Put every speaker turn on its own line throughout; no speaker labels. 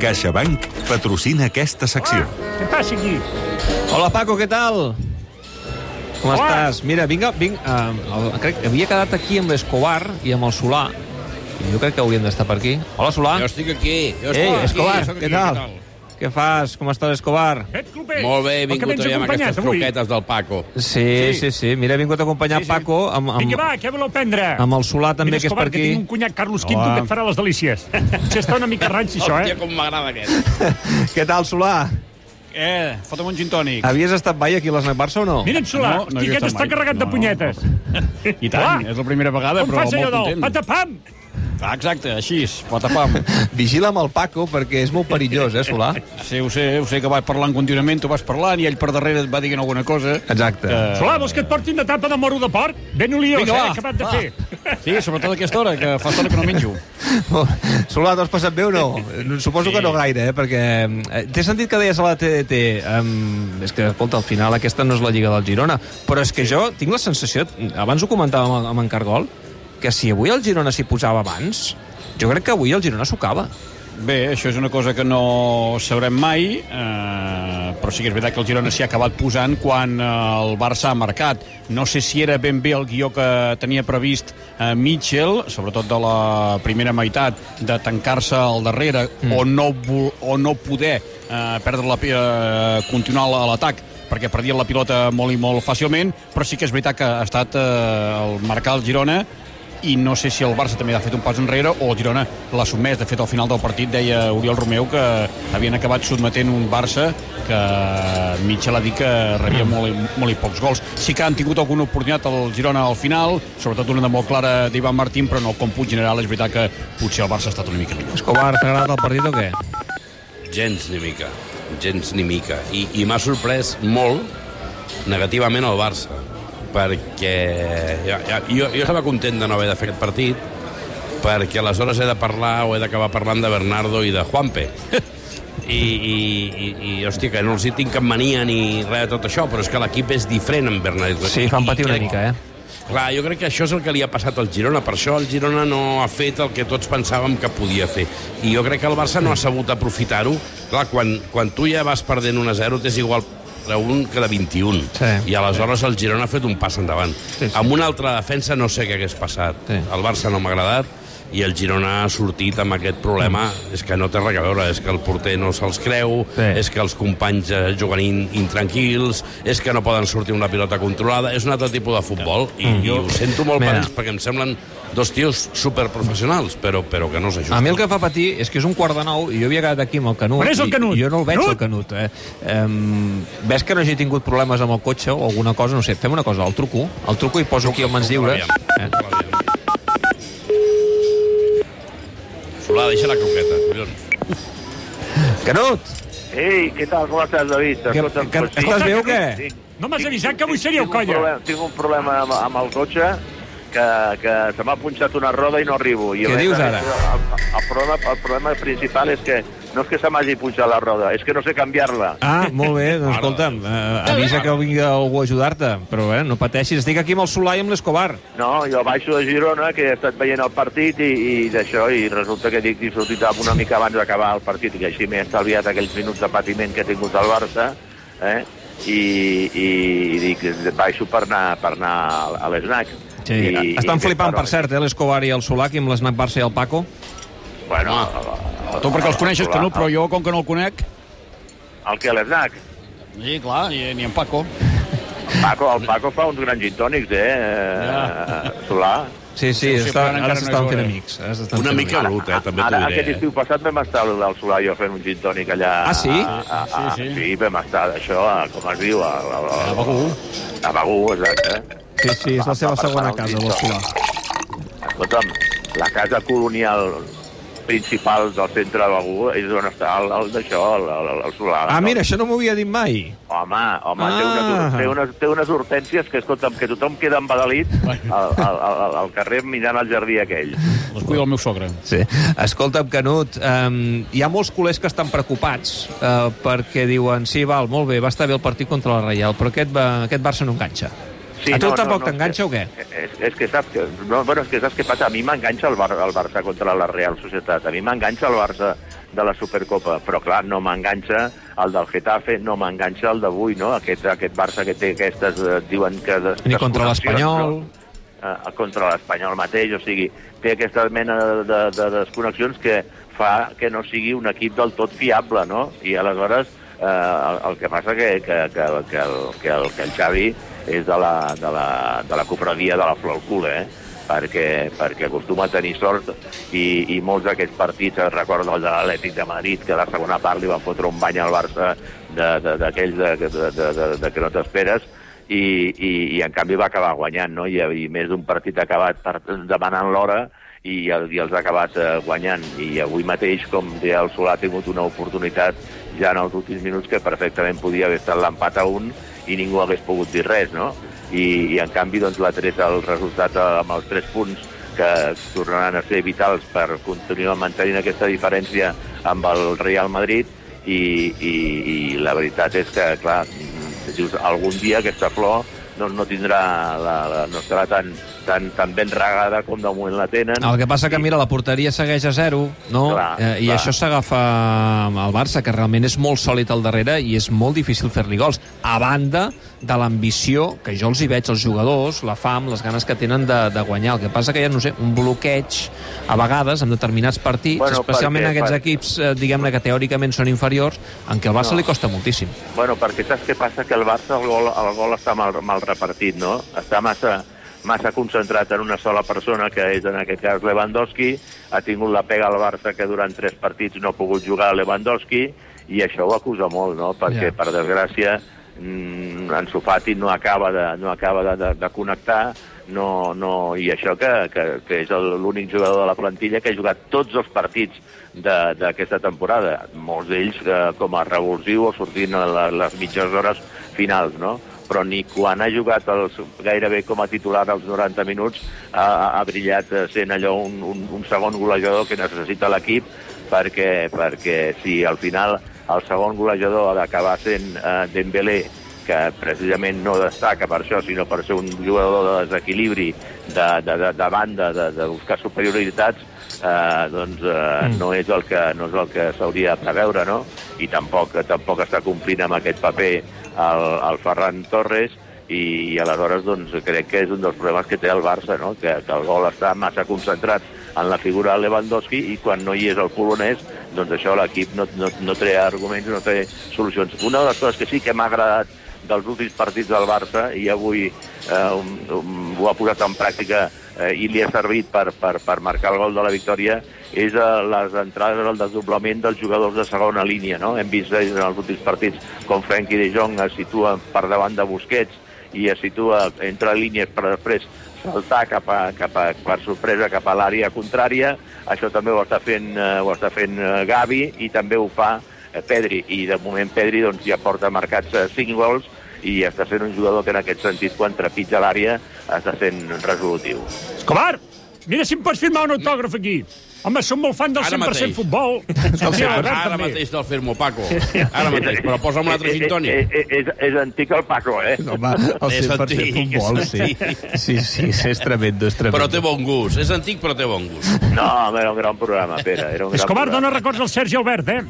CaixaBank patrocina aquesta secció.
Què passa Ah, aquí?
Hola, Paco, què tal? Com
Hola.
estàs? Mira, vinga, vinga eh, el- crec que havia quedat aquí amb l'Escobar i amb el Solà. Jo crec que haurien d'estar per aquí. Hola, Solà.
Jo estic aquí. Jo
Ei,
estic
Escobar,
sóc
què tal? Què fas? Com estàs, Escobar?
Et clubers.
Molt bé, he
El que
vingut
m'ens
avui amb aquestes
acompanyat avui.
truquetes del Paco.
Sí, sí, sí. Mira, he vingut a acompanyar sí, sí. Paco amb,
Vinga,
amb,
va, què voleu prendre?
amb el Solà, també,
Mira,
que és per
Escobar,
aquí.
que tinc un cunyat Carlos Quinto
Hola.
que et farà les delícies. Potser està una mica ranxi, això,
Hòstia,
eh?
com m'agrada aquest.
Què tal, Solà?
Eh, fotem un gin tònic.
Havies estat mai aquí a l'Snac Barça o no?
Mira en Solà,
No, no
hosti,
hi he
aquest
estat
està
mai.
carregat de
No.
punyetes.
I tant,
Clar.
és la primera vegada,
Com fas
però molt
allò del
content.
patapam?
Ah, exacte, així, patapam.
Vigila amb el Paco, perquè és molt perillós, eh, Solà?
sí, ho sé, ho sé que vas parlant contínuament, tu vas parlant i ell per darrere et va dient alguna cosa.
Exacte.
Eh,
Solà, vols que et portin una tapa de moro de porc? Ben oliós,
Vinga,
eh?
va,
Acabat de
va.
fer.
Sí, sobretot a aquesta hora, que fa estona que no menjo.
Solà, t'ho has passat bé o no? Suposo sí. que no gaire, eh? perquè... eh, Té sentit que deies a la TDT... Um, és que, escolta, al final aquesta no és la Lliga del Girona, però és que sí. jo tinc la sensació, abans ho comentàvem amb- amb en Cargol, que si avui el Girona s'hi posava abans, jo crec que avui el Girona s'ocava.
Bé, això és una cosa que no sabrem mai, eh, però sí que és veritat que el Girona s'hi ha acabat posant quan eh, el Barça ha marcat. No sé si era ben bé el guió que tenia previst eh, Mitchell, sobretot de la primera meitat, de tancar-se al darrere mm. o, no, vo- o no poder eh, perdre la, pi- eh, continuar l- l'atac perquè perdien la pilota molt i molt fàcilment, però sí que és veritat que ha estat eh, el marcar el Girona i no sé si el Barça també ha fet un pas enrere o el Girona l'ha sotmès. De fet, al final del partit deia Oriol Romeu que havien acabat sotmetent un Barça que Mitchell ha dit que rebia molt, i- molt i pocs gols. Sí que han tingut alguna oportunitat el Girona al final, sobretot una de molt clara d'Ivan Martín, però no, com punt general és veritat que potser el Barça ha estat una mica millor.
Escobar, t'ha agradat el partit o què?
Gens ni mica. Gens ni mica. I, i m'ha sorprès molt negativament el Barça perquè ja, ja, jo, jo estava content de no haver de fer aquest partit perquè aleshores he de parlar o he d'acabar parlant de Bernardo i de Juanpe i, i, i, i hòstia, que no els hi tinc cap mania ni res de tot això, però és que l'equip és diferent amb Bernardo.
Sí, fan patir
I
una
crec-
mica, eh?
Clar, jo crec que això és el que li ha passat al Girona. Per això el Girona no ha fet el que tots pensàvem que podia fer. I jo crec que el Barça no ha sabut aprofitar-ho. Clar, quan, quan tu ja vas perdent 1 a 0, t'és igual de 1 que de 21.
Sí.
I aleshores el Girona ha fet un pas endavant.
Sí, sí.
Amb una altra defensa no sé què hagués passat.
Sí.
El Barça no m'ha agradat i el Girona ha sortit amb aquest problema és que no té res a veure, és que el porter no se'ls creu,
Sí.
és que els companys eh, juguen in, intranquils, és que no poden sortir una pilota controlada, és un altre tipus de futbol i, mm. i ho sento molt
Mira.
per ells perquè em semblen dos tios superprofessionals, però, però que no s'ajusten.
A mi el que em fa patir és que és un quart de nou i jo havia quedat aquí amb el Canut.
On és el
i-
Canut?
I jo no el veig,
Canut?
el Canut. Eh? Um, ves que no hagi tingut problemes amb el cotxe o alguna cosa, no sé. Fem una cosa, el truco. El truco i poso aquí a mans lliures. Eh?
Solà, deixa la croqueta, collons.
Canut!
Ei, què tal? Com estàs, David?
Que- que- estàs bé o què?
No m'has avisat que avui seria el
tinc un
colla.
Problema, tinc un problema amb, amb el cotxe que, que se m'ha punxat una roda i no arribo. I
Què
a més,
dius
a
ara?
més, El, el, problema, el problema principal és que no és que se m'hagi punxat la roda, és que no sé canviar-la.
Ah, molt bé, doncs escolta'm, eh, avisa que vingui algú a ajudar-te, però eh, no pateixis, estic aquí amb el Solà i amb l'Escobar.
No, jo baixo de Girona, que he estat veient el partit i, i d'això, i resulta que dic que he sortit amb una mica abans d'acabar el partit, que així m'he estalviat aquells minuts de patiment que he tingut al Barça, eh? I, i, i dic, baixo per anar, per anar a l'esnac.
Sí, I, estan flipant, per
però-
cert, eh, l'Escobar i el Solà, aquí amb l'Snac Barça i el Paco.
Bueno,
Tu perquè els coneixes, que no, però jo, com que no el conec...
El que a l'esnac?
Sí, clar, i, ni en Paco.
Paco, el Paco fa uns grans gintònics, eh? Ja. Solà.
Sí, sí,
Sí, sí,
està,
però ara
ara
encara no
s'estan
hi
fent
veuré.
amics. ara s'estan
Una
fent
mica brut, eh? també t'ho
Ara,
diré.
aquest
eh?
estiu passat vam estar al Solà i jo fent un gintònic allà.
Ah, sí?
A, a, a,
Sí,
sí,
sí.
sí. sí, vam estar, això, a, com es diu? A, a, a,
A Begur.
A Begur, exacte.
amics. Sí, sí, és la seva
Va, va,
segona
va,
casa,
va,
el
va.
Solà.
Escolta'm, la casa colonial principal del centre de Begur és on està el, el d'això, el, el, el Solà.
Ah,
no?
mira, això no m'ho havia dit mai.
Home, home, ah. té,
Ah.
unes, té, unes, té unes hortènsies que, escolta'm, que tothom queda embadalit al, al, al, al carrer mirant el jardí aquell.
Les cuida el meu sogre.
Sí. Escolta'm, Canut, um, hi ha molts culers que estan preocupats eh, uh, perquè diuen, sí, val, molt bé, va estar bé el partit contra la Reial, però aquest, va, aquest Barça no enganxa. A tu tampoc t'enganxa
és
o què?
que- És, és que saps que, no, bueno, és que saps què passa? A mi m'enganxa el, Bar el Barça contra la Real Societat, a mi m'enganxa el Barça de la Supercopa, però clar, no m'enganxa el del Getafe, no m'enganxa el d'avui, no? Aquest, aquest Barça que té aquestes, eh, diuen que... Des,
Ni contra
desconnexions,
l'Espanyol.
no? eh, contra l'Espanyol mateix, o sigui, té aquesta mena de, de, de desconnexions que fa que no sigui un equip del tot fiable, no? I aleshores eh, el, el que passa que, que, que, que, el, que, el, que el Xavi és de la, de la, de la cofradia de la flor al cul, eh? perquè, perquè acostuma a tenir sort i, i molts d'aquests partits, es recorda el de l'Atlètic de Madrid, que a la segona part li van fotre un bany al Barça de- de- d'aquells de, de, de, de, de, de que no t'esperes, i, i, i en canvi va acabar guanyant, no? I, i més d'un partit ha acabat per, demanant l'hora i, el, i els ha acabat eh, guanyant. I avui mateix, com deia el Solà, ha tingut una oportunitat ja en els últims minuts que perfectament podia haver estat l'empat a un i ningú hagués pogut dir res, no? I, i en canvi doncs, l'ha tret el resultat eh, amb els tres punts que tornaran a ser vitals per continuar mantenint aquesta diferència amb el Real Madrid i, i, i la veritat és que, clar, dius, algun dia aquesta flor no, no tindrà la, la, no estarà tan, tan, tan ben regada com de moment la tenen.
El que passa que,
I-
mira, la porteria segueix a zero, no?
Clar,
eh, I
clar.
això s'agafa amb el Barça, que realment és molt sòlid al darrere i és molt difícil fer-li gols, a banda de l'ambició que jo els hi veig als jugadors, la fam, les ganes que tenen de, de guanyar. El que passa que hi ha, no sé, un bloqueig a vegades en determinats partits,
Bueno,
bueno, especialment
perquè-
aquests
per-
equips, eh, diguem-ne, que teòricament són inferiors, en què al Barça
No.
li costa moltíssim.
Bueno, perquè saps què passa? Que el Barça el gol, el gol està mal, mal repartit, no? Està massa, massa concentrat en una sola persona, que és en aquest cas Lewandowski. Ha tingut la pega al Barça que durant tres partits no ha pogut jugar Lewandowski i això ho acusa molt, no? Perquè,
Ja.
per desgràcia, mm, en Sofati no acaba de, no acaba de, de, de connectar no, no, i això que, que, que és el- l'únic jugador de la plantilla que ha jugat tots els partits de- d'aquesta temporada, molts d'ells eh, com a revulsiu o sortint a la, les mitges hores finals, no? però ni quan ha jugat els, gairebé com a titular als 90 minuts ha, ha- ha brillat eh, sent allò un, un, un segon golejador que necessita l'equip perquè, perquè si al final el segon golejador ha d'acabar sent eh, Dembélé que precisament no destaca per això, sinó per ser un jugador de desequilibri, de, de, de, de banda, de, de buscar superioritats, eh, doncs eh, mm. no és el que no és el que s'hauria de preveure, no? I tampoc, tampoc està complint amb aquest paper el, el Ferran Torres, i, i aleshores doncs, crec que és un dels problemes que té el Barça, no? que, que el gol està massa concentrat en la figura de Lewandowski i quan no hi és el polonès, doncs això l'equip no, no, no té arguments, no té solucions. Una de les coses que sí que m'ha agradat dels últims partits del Barça i avui eh, um, um, ho ha posat en pràctica eh, i li ha servit per, per, per marcar el gol de la victòria és eh, les entrades al desdoblament dels jugadors de segona línia. No? Hem vist eh, en els últims partits com Frenkie de Jong es situa per davant de Busquets i es situa entre línies per després saltar cap a, cap a, per sorpresa cap a l'àrea contrària. Això també ho està fent, eh, ho està fent eh, Gavi i també ho fa eh, Pedri. I de moment Pedri doncs, ja porta marcats 5 gols i està sent un jugador que en aquest sentit quan trepitja l'àrea està sent resolutiu.
Escobar, mira si em pots firmar un autògraf aquí. Home, som molt fan del
Ara
100%
mateix.
futbol. Sí,
Escolta,
Albert,
ara
també.
mateix te'l firmo, Paco. Ara mateix, però posa'm una altra
Eh, eh,
sintònia.
eh, eh, És, és antic el Paco, eh?
Home, el
És 100% antic, futbol, és sí.
Sí, sí, és tremendo, és tremendo.
Però té bon gust. És antic, però té bon gust.
No, home, era un gran programa, Pere. Era un gran
Escobar
programa.
dona records al Sergi Albert, eh?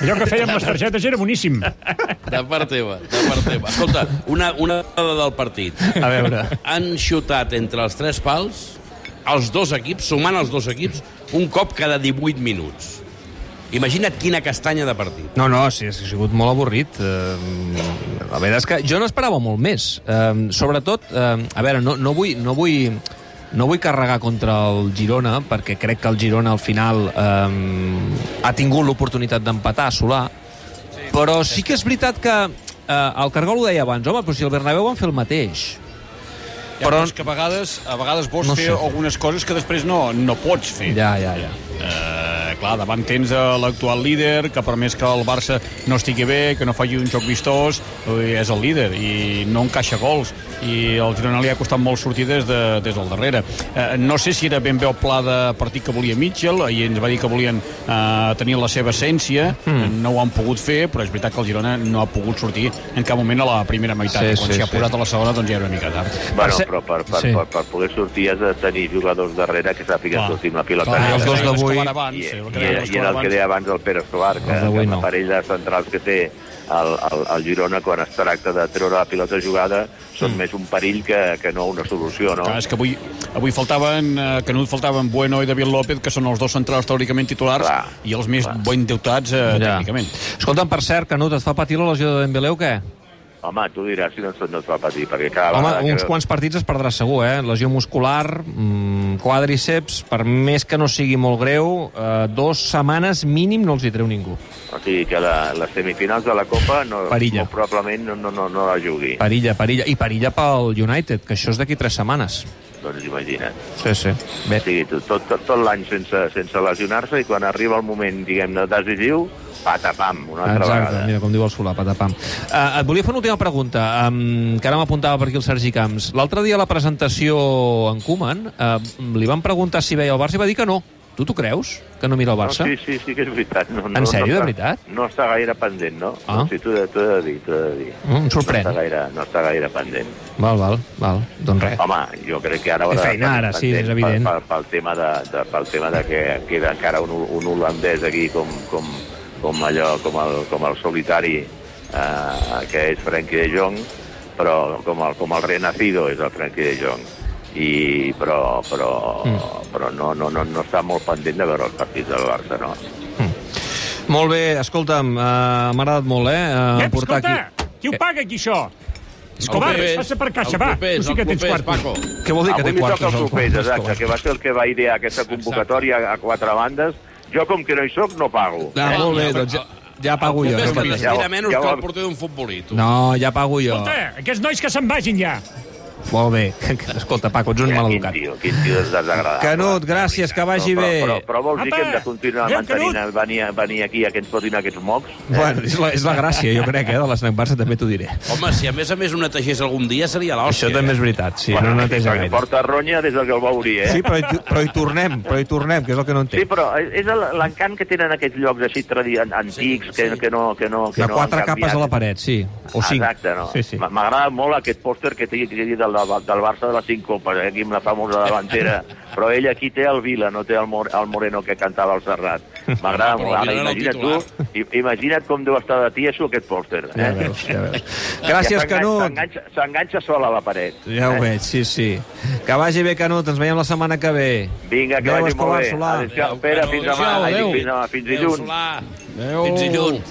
Allò que feia amb les targetes era boníssim.
De part teva, de part teva. Escolta, una, una dada del partit.
A veure...
Han xutat entre els tres pals els dos equips, sumant els dos equips, un cop cada 18 minuts. Imagina't quina castanya de partit.
No, no, sí, ha sigut molt avorrit. Eh, la veritat és que jo n'esperava molt més. Eh, sobretot, eh, a veure, no, no, vull, no, vull, no vull carregar contra el Girona, perquè crec que el Girona al final eh, ha tingut l'oportunitat d'empatar, Solà, però sí que és veritat que eh, el Cargol ho deia abans, home, però si el Bernabéu van fer el mateix.
Ja,
Però-
però és que a vegades, a vegades vols
No
no
sé.
fer algunes coses que després no, no pots fer.
Ja, ja, ja.
Eh, clar, davant tens eh, l'actual líder, que per més que el Barça no estigui bé, que no faci un joc vistós, eh, és el líder i no encaixa gols. I al Girona li ha costat molt sortir des, de, des del darrere. Eh, no sé si era ben bé el pla de partit que volia Mitchell, i ens va dir que volien eh, tenir la seva essència,
Hmm.
mm. no ho han pogut fer, però és veritat que el Girona no ha pogut sortir en cap moment a la primera meitat.
Sí,
Sí, Quan
sí,
s'hi ha
sí.
posat a la segona, doncs ja era una mica tard.
Bueno,
ser-
però per, per,
sí.
sí. per, per poder sortir has de tenir jugadors darrere que sàpiguen
Clar.
sortir amb la pilota.
Clar, i els dos
Ah, que
d'avui-
escolar abans,
I, i,
sí, el que
i,
deia
i era
l'escolar
el que
abans.
deia abans el Pere Escobar, que,
Els d'avui
que
no.
no. parell de centrals que té el, el, el Girona quan es tracta de treure la pilota jugada són més un perill que, que no una solució, no?
Clar, és que avui, avui faltaven, eh, Canut faltaven Bueno i David López, que són els dos centrals teòricament titulars
Clar,
i els més ben deutats eh, tècnicament.
Escolta'm, per cert, Canut, et fa patir la lesió de Dembélé o què?
Home, tu diràs si no, no et va patir, perquè cada
Home,
vegada...
uns
que...
quants partits es perdrà segur, eh? Lesió muscular, mm, quadriceps, per més que no sigui molt greu, eh, dues setmanes mínim no els hi treu ningú.
O sigui que la, les semifinals de la Copa no,
Perilla.
molt probablement no, no, no, no la jugui.
Perilla, perilla. I perilla pel United, que això és d'aquí tres setmanes.
Doncs imagina't.
Sí, sí. Bé,
O sigui, tot, tot, tot, tot l'any sense, sense lesionar-se i quan arriba el moment, diguem-ne, decisiu, patapam, una altra
Exacte,
vegada.
mira, com diu el Solà, patapam. Uh, et volia fer una última pregunta, um, que ara m'apuntava per aquí el Sergi Camps. L'altre dia a la presentació en Koeman uh, li van preguntar si veia el Barça i va dir que no. Tu t'ho creus, que no mira el Barça?
No, sí, sí, sí que és veritat. No, no,
En sèrio,
no
de
està-
veritat?
No està gaire pendent, no?
Ah.
O sigui, t'ho he, t'ho he de dir, t'ho he de dir.
Mm, em sorprèn.
No està gaire, no està gaire pendent.
Val, val, val. Doncs res.
Home, jo crec que ara...
Té
haurà de
feina
tenir
ara, sí,
pendent
és evident.
Pel, pel, pel, tema de, de, pel tema de que queda encara un, un holandès aquí com, com, com allò, com el, com el solitari eh, que és Frenkie de Jong, però com el, com el renacido és el Frenkie de Jong. I, però però, mm. però no, no, no, no està molt pendent de veure els partits del Barça, no?
Molt bé, escolta'm, uh, m'ha agradat molt, eh? Uh,
Ep,
portar
escolta,
aquí...
qui ho
Eh.
paga aquí, això? Escobar, passa per caixa, va. Tu sí que tens quartos.
Paco.
Què vol dir que té
Avui li toca
quartos?
el
al
sorprès,
Koeman?
exacte, que va ser el que va idear aquesta convocatòria a quatre bandes. Jo, com que no hi soc, no pago.
Eh,
Ah, molt bé, doncs ja, ja pago jo.
Més
escolta.
que t'estira
Ja ho-
menys
ja ho-
que el porter d'un futbolí, tu.
No, ja pago jo.
Escolta, Eh, aquests nois que se'n vagin ja.
Molt bé. Escolta, Paco, ets un
Eh, quin
maleducat.
tio, quin tio desagradable.
Canut, gràcies, que vagi
No,
bé.
Però, però, però vols dir
Apa,
que hem de continuar
adéu,
mantenint venir, venir aquí a que ens fotin aquests mocs?
Bueno, és la, és la gràcia, jo crec, eh, de l'esnac Barça, també t'ho diré.
Home, si a més a més ho netegés algun dia seria l'hòstia.
Això també és veritat, sí, no neteja
perquè
gaire.
Porta ronya des del que el va obrir, eh?
Sí, però hi, però hi tornem, però hi tornem, que és el que no
Sí,
entenc.
però és el- l'encant que tenen aquests llocs així tradi- an- antics, que, que no, que no, que
De
no
quatre
han
capes
canviat.
a la paret, sí, o cinc.
Exacte, no?
Sí, sí.
M- M'agrada molt aquest pòster que té que té del, del Barça de les 5 copes, eh? aquí amb la famosa davantera. Però ell aquí té el Vila, no té el, Mor el Moreno que cantava al Serrat. M'agrada
Però
molt.
el
Ara,
Vila era el
imagina't tu,
titular.
i- imagina't com deu estar de tieso aquest pòster.
Ja
Eh?
veus, ja veus. Gràcies,
s'enganxa-
Canut.
s'enganxa- S'enganxa sol a la paret. Eh?
Ja ho veig, sí, sí. Que vagi bé, Canut, ens veiem la setmana que ve.
Vinga, que
Adéu,
vagi
Escobar,
molt bé.
Solà.
Adéu, Pere, fins demà. Ai, dic, Fins demà, fins dilluns.
Fins dilluns.